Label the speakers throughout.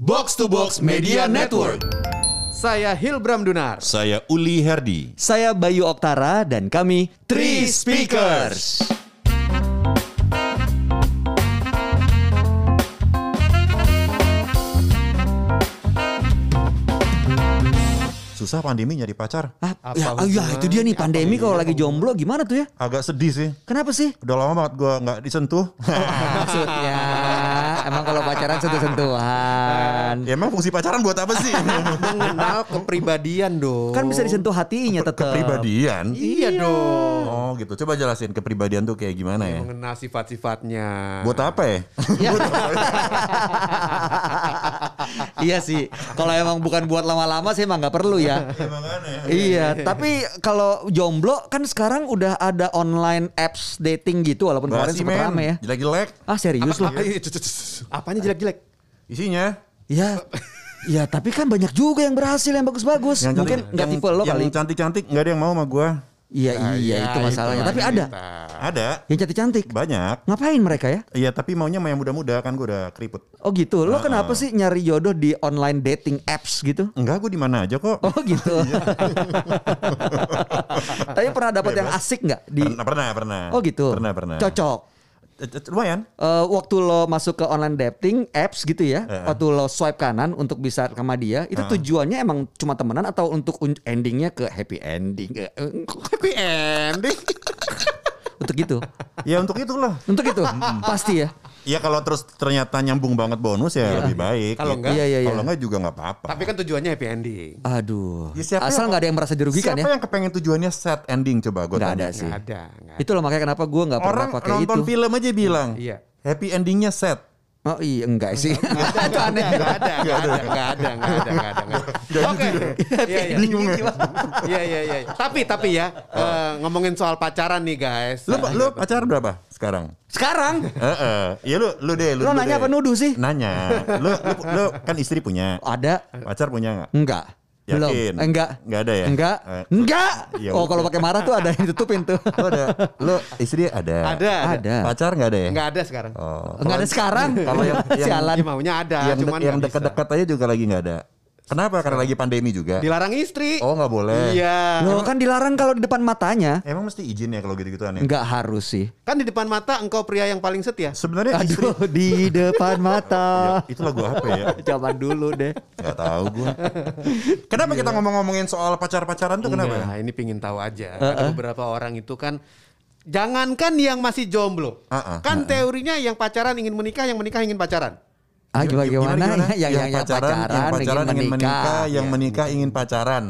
Speaker 1: Box to Box Media Network.
Speaker 2: Saya Hilbram Dunar.
Speaker 1: Saya Uli Herdi.
Speaker 3: Saya Bayu Oktara dan kami
Speaker 1: Three Speakers. Susah pandemi nyari pacar.
Speaker 3: Ah, ya, ah, ya, itu dia nih pandemi kalau lagi jomblo gimana tuh ya?
Speaker 1: Agak sedih sih.
Speaker 3: Kenapa sih?
Speaker 1: Udah lama banget gua nggak disentuh.
Speaker 3: Ah, Maksudnya emang kalau pacaran sentuh-sentuhan.
Speaker 1: ya emang fungsi pacaran buat apa sih?
Speaker 2: Mengenal kepribadian dong.
Speaker 3: Kan bisa disentuh hatinya tetap.
Speaker 1: Kepribadian.
Speaker 2: Iya dong.
Speaker 1: Oh gitu. Coba jelasin kepribadian tuh kayak gimana ya?
Speaker 2: Mengenal sifat-sifatnya.
Speaker 1: Buat apa ya?
Speaker 3: iya sih. Kalau emang bukan buat lama-lama sih emang nggak perlu ya. iya, tapi kalau jomblo kan sekarang udah ada online apps dating gitu walaupun kemarin
Speaker 1: Basi
Speaker 3: sempat
Speaker 1: men.
Speaker 3: rame ya.
Speaker 1: Jelek-jelek.
Speaker 3: Ah serius loh.
Speaker 2: Apa- iya, cu- cu- cu- cu- Apanya jelek-jelek?
Speaker 1: Isinya.
Speaker 3: Ya. Ya, tapi kan banyak juga yang berhasil yang bagus-bagus.
Speaker 1: Yang
Speaker 3: Mungkin
Speaker 1: cantik- Ah,
Speaker 3: nggak
Speaker 1: yang-
Speaker 3: tipe lo
Speaker 1: yang
Speaker 3: kali.
Speaker 1: cantik-cantik nggak ada yang mau sama gue
Speaker 3: Iya, iya, itu masalahnya. tapi ada
Speaker 1: ada
Speaker 3: yang cantik-cantik.
Speaker 1: banyak
Speaker 3: Ngapain mereka ya?
Speaker 1: iya tapi maunya sama yang muda-muda kan gue udah keriput
Speaker 3: Oh gitu. Lo
Speaker 1: Ah.
Speaker 3: kenapa sih nyari jodoh di online dating apps gitu?
Speaker 1: enggak gue di mana aja kok
Speaker 3: Oh gitu.
Speaker 1: Iya.
Speaker 3: Tapi pernah dapat yang asik nggak di?
Speaker 1: pernah pernah pernah
Speaker 3: Oh gitu.
Speaker 1: pernah pernah
Speaker 3: Cocok.
Speaker 1: Eh, eh, lumayan
Speaker 3: Eh, waktu lo masuk ke online dating apps gitu ya,
Speaker 1: Heeh.
Speaker 3: waktu lo swipe kanan untuk bisa sama dia, itu
Speaker 1: Eh.
Speaker 3: tujuannya emang cuma temenan atau untuk un- endingnya ke happy ending? Eh, eh,
Speaker 2: Happy ending.
Speaker 3: Untuk gitu,
Speaker 1: ya untuk itulah
Speaker 3: untuk itu pasti ya.
Speaker 1: Iya kalau terus ternyata nyambung banget bonus ya lebih baik
Speaker 2: Iya.
Speaker 1: gitu.
Speaker 2: Kalau enggak-
Speaker 3: Iya, iya, iya.
Speaker 1: kalau enggak juga nggak apa-apa
Speaker 2: tapi kan tujuannya happy ending.
Speaker 3: Aduh,
Speaker 1: Ya, siapa
Speaker 3: asal
Speaker 1: yang-
Speaker 3: nggak ada yang merasa dirugikan
Speaker 1: siapa
Speaker 3: ya?
Speaker 1: yang kepengen tujuannya sad ending coba gue
Speaker 3: Nggak
Speaker 1: tanya
Speaker 3: ada sih.
Speaker 2: Nggak ada. nggak ada.
Speaker 3: Itu loh makanya kenapa gue nggak pernah
Speaker 1: orang
Speaker 3: pakai itu.
Speaker 1: nonton film aja bilang
Speaker 2: Iya.
Speaker 1: happy endingnya sad
Speaker 3: Oh iya enggak sih. Itu aneh.
Speaker 2: Nggak ada, nggak ada, nggak ada, nggak ada, nggak ada, nggak ada. Oke. Iya, iya.
Speaker 1: bingung ya
Speaker 2: Iya, iya, iya. Tapi, tapi ya, eh, ngomongin soal pacaran nih guys.
Speaker 1: lu, lu pacar berapa sekarang
Speaker 3: Sekarang
Speaker 1: Heeh. Ya lu lu deh lu.
Speaker 3: Lo
Speaker 1: lu
Speaker 3: nanya
Speaker 1: deh. Nah.
Speaker 3: apa nuduh sih?
Speaker 1: Nanya. Lu, lu lu kan istri punya.
Speaker 3: ada
Speaker 1: Pacar punya nggak?
Speaker 3: enggak? Belum.
Speaker 1: Yakin?
Speaker 3: Eh, Enggak.
Speaker 1: Nggak ada ya?
Speaker 3: Enggak.
Speaker 1: Eh,
Speaker 3: Enggak.
Speaker 1: ya
Speaker 3: oh,
Speaker 1: udah.
Speaker 3: kalau pakai marah tuh ada yang ditutupin tuh.
Speaker 1: Lu ada. Lu istri ada.
Speaker 2: Ada, ada.
Speaker 3: ada.
Speaker 1: Pacar nggak ada ya?
Speaker 2: Nggak ada sekarang.
Speaker 1: Oh.
Speaker 3: Enggak ada sekarang.
Speaker 1: Kalau yang- yang-
Speaker 3: sialan.
Speaker 2: Ya maunya ada,
Speaker 1: yang de-
Speaker 2: cuman
Speaker 1: yang
Speaker 2: nggak bisa.
Speaker 1: dekat-dekat aja juga lagi nggak ada. Kenapa? Karena lagi pandemi juga.
Speaker 2: Dilarang istri.
Speaker 1: Oh nggak boleh.
Speaker 2: Iya.
Speaker 3: Lo kan dilarang kalau di depan matanya.
Speaker 1: Emang mesti izin ya kalau gitu-gituan ya?
Speaker 3: Enggak harus sih.
Speaker 2: Kan di depan mata engkau pria yang paling setia.
Speaker 1: Sebenarnya istri
Speaker 3: Aduh, di depan mata.
Speaker 1: itu lagu apa ya?
Speaker 3: Zaman dulu deh.
Speaker 1: Gak tahu gue. Kenapa kita ngomong-ngomongin soal pacar-pacaran tuh kenapa? ya?
Speaker 2: Nah, ini pingin tahu aja. Ada beberapa orang itu kan jangankan yang masih jomblo.
Speaker 1: Ah, ah,
Speaker 2: kan teorinya yang pacaran ingin menikah, yang menikah ingin pacaran.
Speaker 3: Ah, gimana, gimana,
Speaker 1: gimana?
Speaker 3: Yang, yang, yang pacaran,
Speaker 1: yang pacaran
Speaker 3: ingin menikah.
Speaker 1: yang menikah ya. ingin pacaran.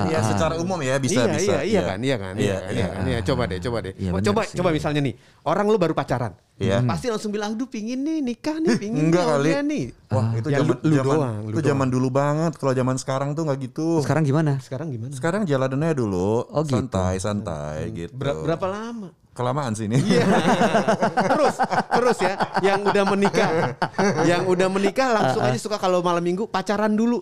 Speaker 1: Iya, secara umum ya bisa
Speaker 2: iya,
Speaker 1: bisa.
Speaker 2: iya, iya kan, iya kan, iya, kan, iya, kan, iya. Coba deh, coba deh.
Speaker 3: Iya,
Speaker 2: Oh,
Speaker 3: benar
Speaker 2: coba,
Speaker 3: sih.
Speaker 2: coba misalnya nih, orang lu baru pacaran,
Speaker 1: Iya.
Speaker 2: pasti langsung bilang, aduh pingin nih nikah nih, pingin
Speaker 1: Enggak
Speaker 2: nih,
Speaker 1: kali.
Speaker 2: orangnya nih.
Speaker 1: Wah, itu
Speaker 2: Ya,
Speaker 1: zaman
Speaker 2: lu- lu
Speaker 1: zaman
Speaker 2: doang, lu
Speaker 1: itu zaman dulu banget. Kalau zaman sekarang tuh nggak gitu.
Speaker 3: Sekarang gimana?
Speaker 2: Sekarang gimana?
Speaker 1: Sekarang jalaninnya dulu,
Speaker 3: Oh, gitu.
Speaker 1: santai santai gitu.
Speaker 2: Ber- Oh. berapa Iya. lama?
Speaker 1: Kelamaan sih ini.
Speaker 2: terus, terus ya, yang udah menikah, yang udah menikah langsung aja suka kalau malam minggu pacaran dulu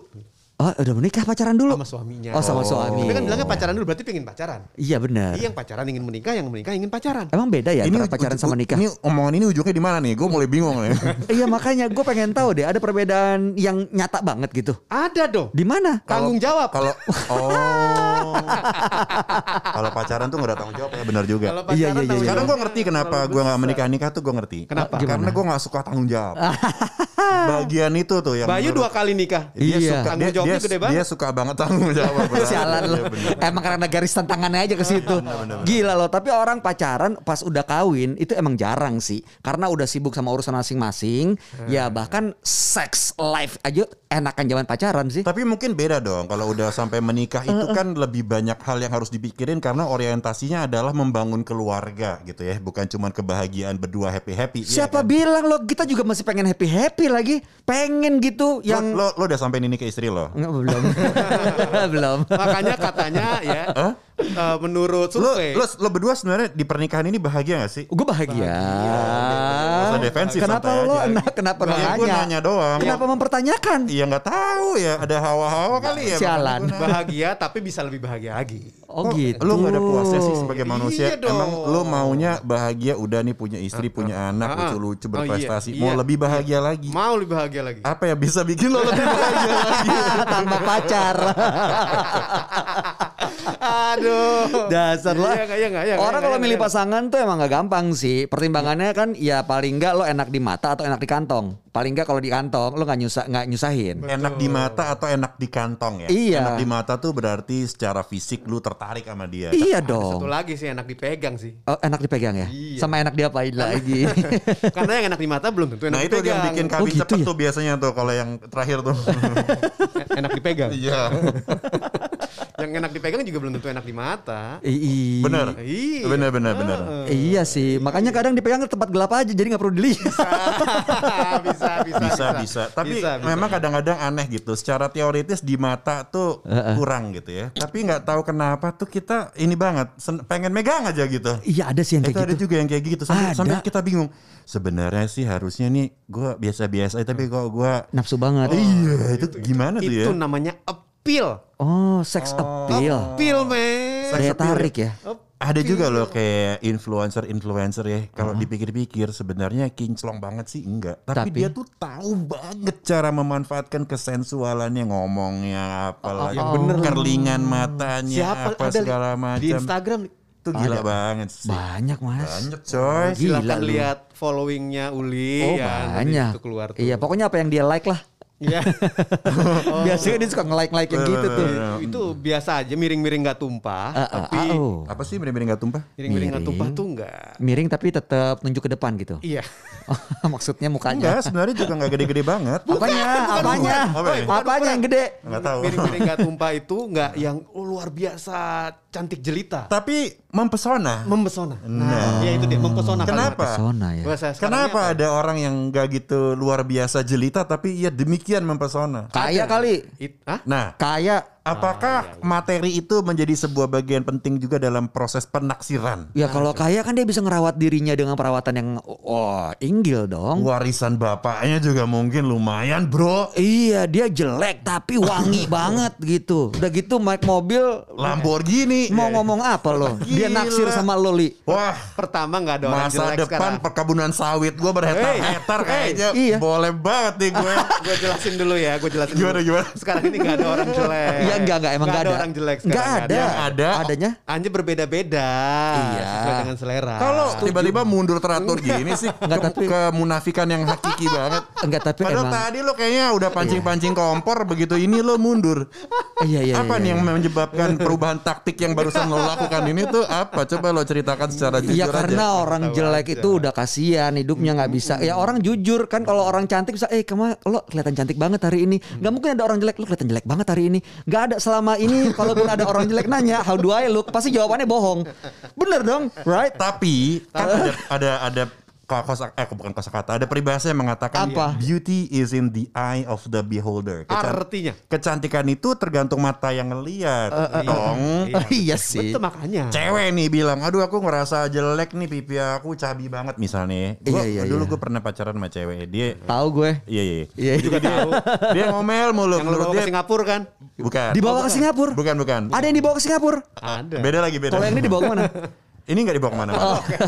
Speaker 3: Oh, udah menikah pacaran dulu.
Speaker 2: sama suaminya.
Speaker 3: Oh, sama suami.
Speaker 2: Tapi kan bilangnya pacaran dulu, berarti pingin pacaran.
Speaker 3: Iya benar.
Speaker 2: Iya yang pacaran ingin menikah, yang menikah ingin pacaran.
Speaker 3: Emang beda ya antara
Speaker 1: uj-
Speaker 3: pacaran
Speaker 1: uj-
Speaker 3: sama
Speaker 1: uj-
Speaker 3: nikah?
Speaker 1: Ini omongan ini ujungnya di mana nih? Gue mulai bingung nih.
Speaker 3: Iya makanya gue pengen tahu deh ada perbedaan yang nyata banget gitu.
Speaker 2: Ada dong.
Speaker 3: Di mana?
Speaker 2: Tanggung jawab.
Speaker 1: Kalau oh. Kalau pacaran tuh nggak ada tanggung jawab ya, benar juga.
Speaker 2: Kalau
Speaker 3: Iya,
Speaker 2: pacaran
Speaker 3: iya, iya,
Speaker 2: tanggung
Speaker 1: Sekarang
Speaker 2: jawab.
Speaker 1: gue ngerti kenapa
Speaker 2: Kalau
Speaker 1: gue nggak
Speaker 2: bisa.
Speaker 1: menikah nikah tuh gue ngerti.
Speaker 2: Kenapa?
Speaker 1: Karena gue nggak suka tanggung jawab. Bagian itu tuh yang
Speaker 2: Bayu dua
Speaker 1: menurut-
Speaker 2: kali nikah.
Speaker 1: dia
Speaker 3: Iya.
Speaker 1: suka
Speaker 2: Tanggung
Speaker 1: dia,
Speaker 2: jawabnya
Speaker 1: dia,
Speaker 2: gede
Speaker 1: dia
Speaker 2: banget.
Speaker 1: suka banget tanggung jawab. benar.
Speaker 3: Sialan lo.
Speaker 1: Iya, benar.
Speaker 3: Emang karena garis tantangannya aja ke situ. Gila lo. Tapi orang pacaran pas udah kawin itu emang jarang sih. Karena udah sibuk sama urusan masing-masing. Ya bahkan sex life aja enakan zaman pacaran sih.
Speaker 1: Tapi mungkin beda dong kalau udah sampai menikah itu kan lebih banyak hal yang harus dipikirin karena orientasinya adalah membangun keluarga gitu ya, bukan cuma kebahagiaan berdua happy-happy. Iya
Speaker 3: Siapa
Speaker 1: kan?
Speaker 3: bilang lo kita juga masih pengen happy-happy lagi. Pengen gitu
Speaker 1: Lo-
Speaker 3: yang...
Speaker 1: lo, lo, udah sampai ini ke istri lo?
Speaker 3: Nggak, belum. belum.
Speaker 2: Makanya katanya ya. eh, menurut
Speaker 1: Lo,
Speaker 2: survei
Speaker 1: lo, lo berdua sebenarnya di pernikahan ini bahagia gak sih?
Speaker 3: Gue bahagia.
Speaker 1: Nggak usah defensif,
Speaker 3: kenapa
Speaker 1: santai
Speaker 3: lo?
Speaker 1: aja.
Speaker 3: Nah, kenapa lo
Speaker 1: Nggak, ya, gua
Speaker 3: nanya?
Speaker 1: nanya doang.
Speaker 3: Kenapa mempertanyakan?
Speaker 1: Iya nggak tahu ya ada hawa-hawa kali ya.
Speaker 3: Sialan.
Speaker 1: makanya gua nanya.
Speaker 2: bahagia tapi bisa lebih bahagia lagi.
Speaker 3: Oh
Speaker 1: Kok
Speaker 3: gitu.
Speaker 1: Lu gak ada puasnya sih sebagai
Speaker 2: Iya
Speaker 1: manusia.
Speaker 2: dong.
Speaker 1: Emang lu maunya bahagia udah nih punya istri, punya anak,
Speaker 2: ah.
Speaker 1: lucu-lucu,
Speaker 2: Oh, iya,
Speaker 1: berprestasi.
Speaker 2: iya.
Speaker 1: Mau lebih bahagia lagi.
Speaker 2: Mau lebih bahagia lagi.
Speaker 1: Apa yang bisa bikin lo lebih bahagia lagi?
Speaker 3: Tambah pacar.
Speaker 2: Aduh.
Speaker 3: Dasar lah.
Speaker 2: Iya, iya, iya, iya,
Speaker 3: Orang
Speaker 2: iya,
Speaker 3: kalau
Speaker 2: iya,
Speaker 3: milih
Speaker 2: iya.
Speaker 3: pasangan tuh emang gak gampang sih. Pertimbangannya kan ya paling nggak lo enak di mata atau enak di kantong. Paling nggak kalau di kantong lo nggak nyusah nggak nyusahin.
Speaker 1: enak di mata atau enak di kantong ya?
Speaker 3: Iya.
Speaker 1: Enak di mata tuh berarti secara fisik lu tertarik sama dia.
Speaker 3: Iya
Speaker 2: Satu
Speaker 3: dong.
Speaker 2: lagi sih enak dipegang sih.
Speaker 3: Oh, enak dipegang ya.
Speaker 2: Iya.
Speaker 3: Sama enak diapain lagi?
Speaker 2: Karena yang enak di mata belum tentu enak
Speaker 1: Nah itu
Speaker 2: dipegang.
Speaker 1: yang bikin
Speaker 3: Oh,
Speaker 1: kami
Speaker 3: gitu
Speaker 1: cepet
Speaker 3: ya?
Speaker 1: tuh biasanya tuh kalau yang terakhir tuh.
Speaker 2: E- enak dipegang.
Speaker 1: Iya.
Speaker 2: yang enak dipegang juga belum tentu enak di mata.
Speaker 3: I- i-
Speaker 1: Bener.
Speaker 2: Iya.
Speaker 1: Bener bener bener.
Speaker 3: Iya sih. Makanya kadang dipegang ke tempat gelap aja jadi nggak perlu dilihat.
Speaker 2: bisa, bisa,
Speaker 1: bisa bisa tapi
Speaker 2: Bisa, bisa.
Speaker 1: memang kadang-kadang aneh gitu secara teoritis di mata tuh kurang gitu ya tapi nggak tahu kenapa tuh kita ini banget sen- pengen megang aja gitu
Speaker 3: Iya ada sih yang
Speaker 1: itu
Speaker 3: kayak
Speaker 1: ada
Speaker 3: gitu.
Speaker 1: juga yang kayak gitu sampai,
Speaker 3: Ada.
Speaker 1: sampai kita bingung sebenarnya sih harusnya nih gue biasa-biasa aja, tapi kok gue
Speaker 3: Nafsu banget.
Speaker 1: iya
Speaker 3: gitu.
Speaker 1: itu gimana tuh ya
Speaker 2: Itu nah, namanya appeal.
Speaker 3: Oh, sex appeal.
Speaker 2: Appeal,
Speaker 1: Oh.
Speaker 2: men.
Speaker 1: Sex
Speaker 3: Daya
Speaker 1: appeal
Speaker 3: tarik ya.
Speaker 1: ada juga loh kayak influencer-influencer ya kalau dipikir-pikir sebenarnya kinclong banget sih enggak tapi,
Speaker 3: Tapi-
Speaker 1: dia tuh tahu banget cara memanfaatkan kesensualannya ngomongnya apalah
Speaker 2: Oh, oh.
Speaker 1: bener kerlingan matanya
Speaker 2: Siapa
Speaker 1: apa
Speaker 2: ada
Speaker 1: segala
Speaker 2: di
Speaker 1: macam
Speaker 2: Instagram
Speaker 1: itu gila banget sih
Speaker 3: Banyak, Mas.
Speaker 1: banyak coy
Speaker 3: Oh, Gila
Speaker 2: Silahkan
Speaker 3: lu.
Speaker 2: lihat followingnya Uli
Speaker 3: Oh,
Speaker 2: ya, nanti
Speaker 3: banyak.
Speaker 2: itu keluar tuh.
Speaker 3: Iya, pokoknya apa yang dia like lah.
Speaker 2: Iya. Oh.
Speaker 3: Biasanya dia suka nge-like-like yang gitu tuh.
Speaker 1: Iya.
Speaker 2: itu biasa aja miring-miring nggak tumpah
Speaker 3: Ah, ah,
Speaker 2: tapi
Speaker 3: ah, oh.
Speaker 1: apa sih bener-bener nggak tumpah
Speaker 2: miring-miring nggak
Speaker 3: Miring.
Speaker 2: tumpah tuh nggak
Speaker 3: Miring tapi tetap nunjuk ke depan gitu.
Speaker 2: iya
Speaker 3: Maksudnya mukanya.
Speaker 1: enggak sebenarnya juga nggak gede-gede banget
Speaker 3: Apanya? Apanya?
Speaker 1: bukan. Apa ya?
Speaker 3: Apanya yang gede?
Speaker 1: nggak tahu
Speaker 2: miring-miring nggak tumpah itu nggak yang oh, luar biasa cantik jelita
Speaker 1: tapi mempesona
Speaker 2: mempesona nah, ya itu dia mempesona
Speaker 1: Kenapa?
Speaker 3: Pesona
Speaker 2: kalimat.
Speaker 3: ya.
Speaker 2: Bahasa sekarangnya apa?
Speaker 1: Kenapa ada orang yang nggak gitu luar biasa jelita tapi ya demikian mempesona?
Speaker 3: Kaya kali.
Speaker 2: It- Hah?
Speaker 1: Nah,
Speaker 3: Kaya.
Speaker 2: Ah, iya,
Speaker 1: Apakah materi itu menjadi sebuah bagian penting juga dalam proses penaksiran?
Speaker 3: Ya kalau kaya kan dia bisa ngerawat dirinya dengan perawatan yang oh, inggil dong.
Speaker 1: Warisan bapaknya juga mungkin lumayan, bro.
Speaker 3: Iya, dia jelek tapi wangi banget gitu. Udah gitu naik mobil
Speaker 1: Lamborghini.
Speaker 3: mau ngomong apa lo? Dia
Speaker 1: Iya. Gila.
Speaker 3: naksir sama lo, Li.
Speaker 1: Wah,
Speaker 2: pertama nggak ada orang
Speaker 1: masa
Speaker 2: jelek
Speaker 1: depan
Speaker 2: sekarang
Speaker 1: perkebunan sawit gue berhektar-hektar
Speaker 2: Hey,
Speaker 1: kayaknya
Speaker 3: hey, iya.
Speaker 1: boleh banget nih gue.
Speaker 2: gue jelasin dulu ya gue jelasin
Speaker 1: Gimana,
Speaker 2: dulu.
Speaker 1: gimana?
Speaker 2: sekarang ini nggak ada orang jelek
Speaker 3: Iya enggak enggak emang enggak ada.
Speaker 2: Eh, orang jelek sekarang
Speaker 3: Enggak ada.
Speaker 1: Yang ada-
Speaker 3: Adanya
Speaker 2: hanya berbeda-beda sesuai dengan selera
Speaker 1: Kalau Nah, tiba-tiba mundur teratur gini sih,
Speaker 3: Nggak,
Speaker 1: ke,
Speaker 3: tapi-
Speaker 1: kemunafikan yang hakiki banget.
Speaker 3: enggak tapi
Speaker 1: Padahal
Speaker 3: emang
Speaker 1: tadi lo kayaknya udah pancing-pancing kompor, begitu ini lo mundur.
Speaker 3: iya iya. iya,
Speaker 1: apa nih
Speaker 3: iya.
Speaker 1: yang menyebabkan perubahan taktik yang barusan lo lakukan ini tuh apa? Coba lo ceritakan secara jujur
Speaker 3: Iya karena
Speaker 1: aja.
Speaker 3: orang
Speaker 2: Tahu
Speaker 3: jelek
Speaker 2: aja.
Speaker 3: itu udah kasihan hidupnya nggak bisa. Ya orang jujur kan kalau orang cantik bisa, eh kema lo kelihatan cantik banget hari ini.
Speaker 2: Hmm.
Speaker 3: Nggak mungkin ada orang jelek lo kelihatan jelek banget hari ini. Nggak ada selama ini kalaupun ada orang jelek nanya how do I look pasti jawabannya bohong. Bener dong, right?
Speaker 1: Tapi kan ada ada ada ko- kosa eh bukan kosakata, ada peribahasa yang mengatakan
Speaker 3: Apa?
Speaker 1: beauty is in the eye of the beholder. Kecan-
Speaker 2: artinya
Speaker 1: kecantikan itu tergantung mata yang ngelihat.
Speaker 3: Eh,
Speaker 1: dong.
Speaker 3: iya
Speaker 2: itu
Speaker 3: sih.
Speaker 2: makanya
Speaker 1: Cewek nih bilang, aduh aku ngerasa jelek nih pipi aku cabi banget misalnya. Gua,
Speaker 3: Iya, iya,
Speaker 1: dulu
Speaker 3: iya.
Speaker 1: gue pernah pacaran sama cewek, dia
Speaker 3: Tahu gue.
Speaker 1: iya iya. iya.
Speaker 3: Iya.
Speaker 2: juga tahu
Speaker 1: Dia ngomel mulu
Speaker 2: yang lu
Speaker 1: menurut
Speaker 2: bawa ke
Speaker 1: dia.
Speaker 2: Singapura kan
Speaker 1: Bukan.
Speaker 3: Dibawa ke Singapura.
Speaker 1: Bukan, bukan.
Speaker 3: Ada yang dibawa ke Singapura.
Speaker 2: ada
Speaker 1: Beda lagi beda.
Speaker 3: Kalau yang ini dibawa Oh. kemana?
Speaker 1: Ini nggak dibawa kemana-mana.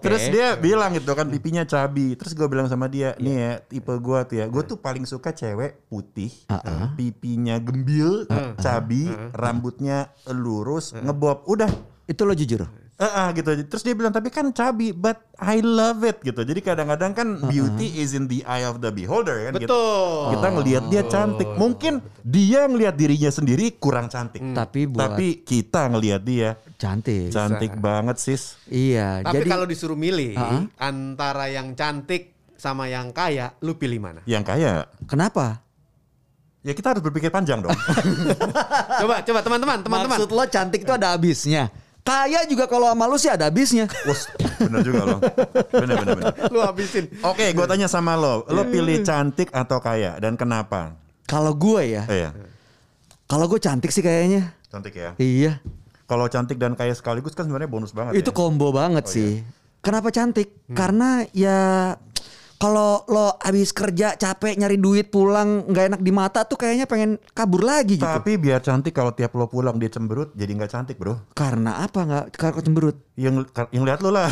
Speaker 1: Terus dia bilang gitu kan pipinya cabi. Terus gue bilang sama dia, nih ya tipe gue tuh ya, gue tuh paling suka cewek putih, pipinya gembil, cabi, rambutnya lurus, ngebob, udah.
Speaker 3: itu lo jujur.
Speaker 2: Hmm.
Speaker 1: Eh, eh, gitu. Terus dia bilang tapi kan cabi, but I love it gitu. Jadi kadang-kadang kan beauty is in the eye of the beholder kan. gitu.
Speaker 2: Betul.
Speaker 1: Kita ngelihat dia cantik. Mungkin dia ngelihat dirinya sendiri kurang cantik.
Speaker 3: Hmm. Tapi buat
Speaker 1: Tapi kita ngelihat dia
Speaker 3: cantik.
Speaker 1: cantik banget sis.
Speaker 3: Iya.
Speaker 2: tapi
Speaker 3: jadi
Speaker 2: kalau disuruh milih
Speaker 3: Ha-ha.
Speaker 2: antara yang cantik sama yang kaya lu pilih mana
Speaker 1: Yang kaya
Speaker 3: kenapa?
Speaker 1: Ya kita harus berpikir panjang dong.
Speaker 2: coba coba teman-teman teman-teman
Speaker 3: Maksud lo cantik itu ada habisnya. Kaya juga kalau sama lu sih ada habisnya.
Speaker 1: Wus, bener juga loh. Bener bener bener.
Speaker 2: lu habisin
Speaker 1: Oke, gue tanya sama lo,
Speaker 2: Iya.
Speaker 1: lo pilih cantik atau kaya dan kenapa?
Speaker 3: Kalau gue ya,
Speaker 1: Eh, ya.
Speaker 3: kalau gue cantik sih kayaknya.
Speaker 1: cantik ya.
Speaker 3: Iya.
Speaker 1: kalau cantik dan kaya sekaligus kan sebenarnya bonus
Speaker 2: Oh,
Speaker 1: banget.
Speaker 2: iya.
Speaker 3: Itu combo banget sih. Kenapa cantik?
Speaker 2: Hmm.
Speaker 3: Karena ya kalau lo habis kerja capek nyari duit pulang nggak enak di mata tuh kayaknya pengen kabur lagi gitu.
Speaker 1: Tapi biar cantik kalau tiap lo pulang dia cemberut jadi nggak cantik bro.
Speaker 3: Karena apa nggak? Karena cemberut.
Speaker 1: Yang yang lihat lo lah.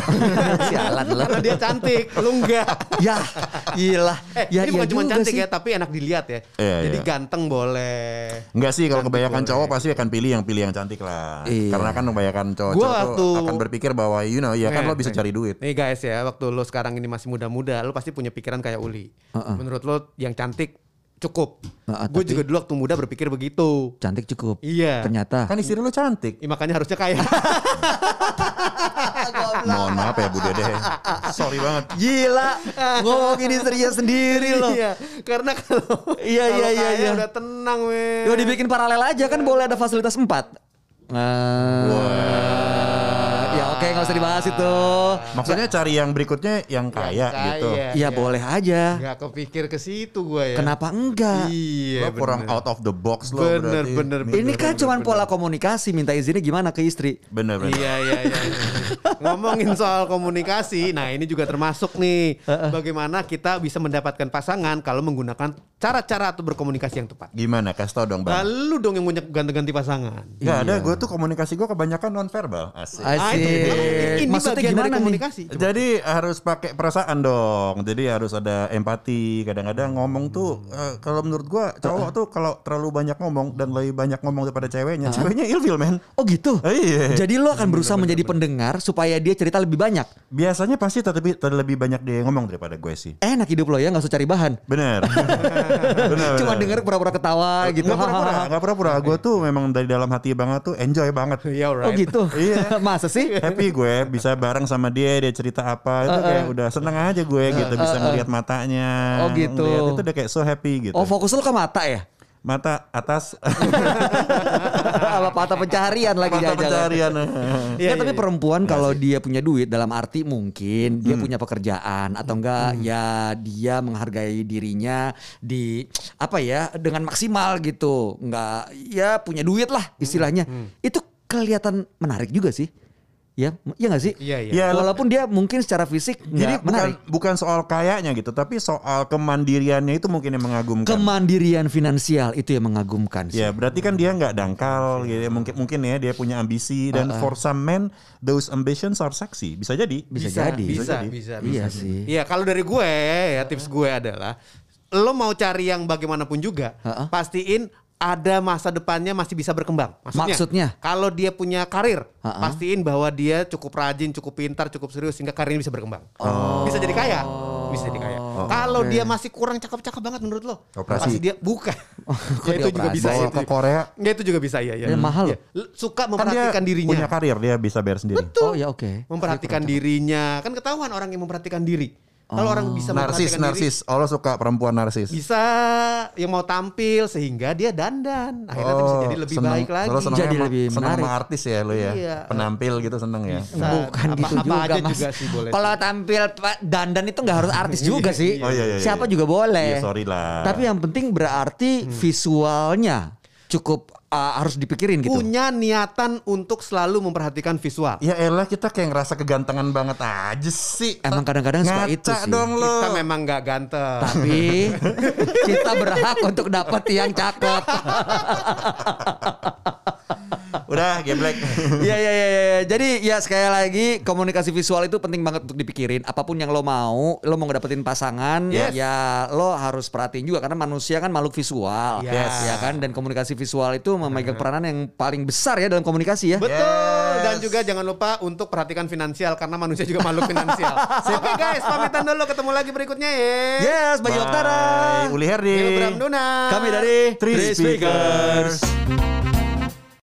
Speaker 3: Sialan lah.
Speaker 2: Karena dia cantik, lu enggak.
Speaker 3: ya, gila.
Speaker 2: Eh,
Speaker 3: ya, iya
Speaker 2: ini bukan cuma
Speaker 3: juga
Speaker 2: cantik
Speaker 3: sih.
Speaker 2: ya, tapi enak dilihat ya.
Speaker 1: Iya,
Speaker 2: Jadi
Speaker 1: iya.
Speaker 2: ganteng boleh.
Speaker 1: Nggak sih kalau kebanyakan cowok pasti akan pilih yang pilih yang cantik lah.
Speaker 3: Iya.
Speaker 1: Karena kan kebanyakan cowok,
Speaker 2: Gua
Speaker 1: cowok tuh
Speaker 2: waktu-
Speaker 1: akan berpikir bahwa you know ya kan lo bisa
Speaker 2: Eh,
Speaker 1: cari duit.
Speaker 2: Nih guys ya, waktu lo sekarang ini masih muda-muda, lo pasti punya pikiran kayak Uli. Menurut lo yang cantik cukup.
Speaker 3: Heeh,
Speaker 2: Gue
Speaker 3: tapi-
Speaker 2: juga dulu waktu muda berpikir begitu.
Speaker 3: Cantik cukup.
Speaker 2: Iya.
Speaker 3: Ternyata.
Speaker 1: Kan istri lo cantik.
Speaker 2: Ih, makanya harusnya kaya.
Speaker 1: Mohon maaf ya Bu Dede. Sorry banget.
Speaker 3: Gila. Ngomong ini serius sendiri lo.
Speaker 2: iya, karena kalau
Speaker 3: Iya,
Speaker 2: kalau
Speaker 3: iya, iya,
Speaker 2: kaya
Speaker 3: iya.
Speaker 2: udah tenang, men.
Speaker 3: Yo dibikin paralel aja kan boleh ada fasilitas 4. Ya oke nggak usah dibahas itu.
Speaker 1: Maksudnya cari yang berikutnya yang kaya,
Speaker 2: kaya.
Speaker 1: gitu.
Speaker 3: Ya boleh aja.
Speaker 2: Gak kepikir ke situ gue ya.
Speaker 3: Kenapa enggak?
Speaker 1: Lo
Speaker 2: Iya,
Speaker 1: kurang out of the box lo
Speaker 2: Bener,
Speaker 1: berarti.
Speaker 2: bener, bener.
Speaker 3: Ini kan cuman pola komunikasi minta izinnya gimana ke istri.
Speaker 1: Bener bener.
Speaker 2: Iya iya iya. Ngomongin soal komunikasi, nah ini juga termasuk nih bagaimana kita bisa mendapatkan pasangan kalau menggunakan cara-cara atau berkomunikasi yang tepat.
Speaker 1: Gimana? Kasih tau dong bang.
Speaker 2: Lalu dong yang banyak ganti-ganti pasangan.
Speaker 1: Gak ada, gue tuh komunikasi gue kebanyakan non verbal. Asik.
Speaker 2: Ah, itu-
Speaker 3: Asik.
Speaker 2: Ini
Speaker 3: Maksudnya
Speaker 2: bagian dari
Speaker 3: gimana nih?
Speaker 2: komunikasi. Coba.
Speaker 1: Jadi harus pakai perasaan dong. Jadi harus ada empati. Kadang-kadang ngomong tuh eh, kalau menurut gua cowok tuh kalau terlalu banyak ngomong dan lebih banyak ngomong daripada ceweknya, ceweknya ilfil men.
Speaker 3: Oh gitu.
Speaker 1: Iya.
Speaker 3: Jadi lo akan berusaha menjadi pendengar supaya dia cerita lebih banyak.
Speaker 1: Biasanya pasti terlebih terlebih banyak dia yang ngomong daripada gue sih.
Speaker 3: Enak hidup lo ya nggak usah cari bahan.
Speaker 1: Bener. bener
Speaker 3: Cuma
Speaker 1: bener.
Speaker 3: denger pura-pura ketawa gitu.
Speaker 1: Nggak pura-pura, nggak pura-pura. Gue tuh memang dari dalam hati banget tuh enjoy banget.
Speaker 2: Iya
Speaker 3: Oh
Speaker 2: alright.
Speaker 3: gitu.
Speaker 1: Iya.
Speaker 3: Masa sih?
Speaker 1: happy gue bisa bareng sama dia dia cerita apa itu kayak udah seneng aja gue gitu bisa ngelihat matanya
Speaker 3: Oh, gitu.
Speaker 1: Ngeliat itu udah kayak so happy gitu
Speaker 3: Oh fokus lo ke mata ya?
Speaker 1: mata atas
Speaker 3: Apa mata pencaharian lagi
Speaker 1: mata
Speaker 3: jalan-jalan.
Speaker 1: pencarian
Speaker 3: Iya, Hmm. tapi perempuan kalau dia punya duit dalam arti mungkin dia punya pekerjaan atau enggak ya dia menghargai dirinya di apa ya dengan maksimal gitu. Enggak ya punya duit lah istilahnya. Itu kelihatan menarik juga sih. Ya, ya enggak sih?
Speaker 2: Iya iya.
Speaker 1: Ya,
Speaker 3: Walaupun dia mungkin secara fisik
Speaker 1: jadi
Speaker 3: enggak
Speaker 1: bukan
Speaker 3: menarik.
Speaker 1: bukan soal kayanya gitu tapi soal kemandiriannya itu mungkin yang mengagumkan
Speaker 3: Kemandirian finansial itu yang mengagumkan sih.
Speaker 1: Ya, berarti kan dia nggak dangkal, gitu. ya. mungkin mungkin ya dia punya ambisi dan for some men those ambitions are sexy, bisa jadi.
Speaker 3: Bisa jadi.
Speaker 2: Bisa,
Speaker 1: Bisa jadi.
Speaker 2: bisa, bisa.
Speaker 3: Iya sih.
Speaker 2: Iya, kalau dari gue ya tips gue adalah lo mau cari yang bagaimanapun juga,
Speaker 3: Ha-ha.
Speaker 2: pastiin ada masa depannya masih bisa berkembang. Maksudnya,
Speaker 3: Maksudnya?
Speaker 2: kalau dia punya karir,
Speaker 3: Ha-ha.
Speaker 2: pastiin bahwa dia cukup rajin, cukup pintar, cukup serius sehingga karirnya bisa berkembang. Bisa jadi kaya, bisa jadi kaya. Kalau dia masih kurang cakep-cakep banget menurut lo,
Speaker 1: Operasi.
Speaker 2: pasti dia bukan.
Speaker 3: Kok
Speaker 2: ya, itu juga
Speaker 3: dioperasi?
Speaker 2: bisa.
Speaker 1: Bawa
Speaker 2: Ya,
Speaker 1: ke
Speaker 2: itu-
Speaker 1: Korea.
Speaker 2: Ya, itu juga bisa ya. ya.
Speaker 3: Ya, mahal
Speaker 2: Ya, Suka
Speaker 1: Kan dia
Speaker 2: memperhatikan dirinya
Speaker 1: punya karir, dia bisa bayar sendiri.
Speaker 3: Oh ya oke.
Speaker 2: memperhatikan
Speaker 1: Iya,
Speaker 2: dirinya kan ketahuan orang yang memperhatikan diri kalau orang bisa
Speaker 1: Oh. Narsis,
Speaker 2: memperhatikan
Speaker 1: narsis. Allah suka perempuan narsis.
Speaker 2: diri bisa yang mau tampil sehingga dia dandan akhirnya bisa jadi lebih
Speaker 1: Oh, seneng-
Speaker 2: baik lagi
Speaker 1: Lo seneng
Speaker 3: Jadi
Speaker 1: sama-
Speaker 3: lebih
Speaker 1: seneng
Speaker 3: menarik.
Speaker 1: sama artis ya lo ya.
Speaker 2: Iya.
Speaker 1: Penampil gitu seneng ya.
Speaker 2: Bisa.
Speaker 3: Bukan
Speaker 2: Apa-
Speaker 3: gitu
Speaker 2: apa
Speaker 3: juga,
Speaker 2: aja
Speaker 3: mas.
Speaker 2: juga sih boleh
Speaker 3: Kalau tampil Pak, dandan itu nggak harus artis juga sih.
Speaker 1: Oh, iya, iya, iya.
Speaker 3: Siapa juga boleh.
Speaker 1: Iya, sorry lah. Hmm.
Speaker 3: Tapi yang penting berarti visualnya cukup uh, harus dipikirin gitu.
Speaker 2: punya niatan untuk selalu memperhatikan visual
Speaker 1: Ya elah kita kayak ngerasa kegantengan banget aja sih.
Speaker 3: Emang kadang-kadang suka
Speaker 1: Ngaca
Speaker 3: itu sih.
Speaker 1: dong Iya, lo.
Speaker 2: kita memang nggak ganteng
Speaker 3: Tapi kita berhak untuk dapat yang cakep.
Speaker 1: Udah geblek.
Speaker 3: Iya iya iya. iya. Jadi ya sekali lagi komunikasi visual itu penting banget untuk dipikirin. Apapun yang lo mau, lo mau ngedapetin pasangan,
Speaker 2: Yes.
Speaker 3: ya lo harus perhatiin juga karena manusia kan makhluk visual,
Speaker 2: Yes.
Speaker 3: ya kan. Dan komunikasi visual itu memegang peranan yang paling besar ya dalam komunikasi ya.
Speaker 2: Betul. Dan
Speaker 1: Yes.
Speaker 2: juga jangan lupa untuk perhatikan finansial karena manusia juga makhluk finansial. Oke guys, pamitan dulu ketemu lagi berikutnya ya.
Speaker 3: Yes, Bayu Oktara.
Speaker 1: Bye. Uli Herdi.
Speaker 2: Ibu Bram Duna.
Speaker 3: Kami dari
Speaker 1: Three Speakers.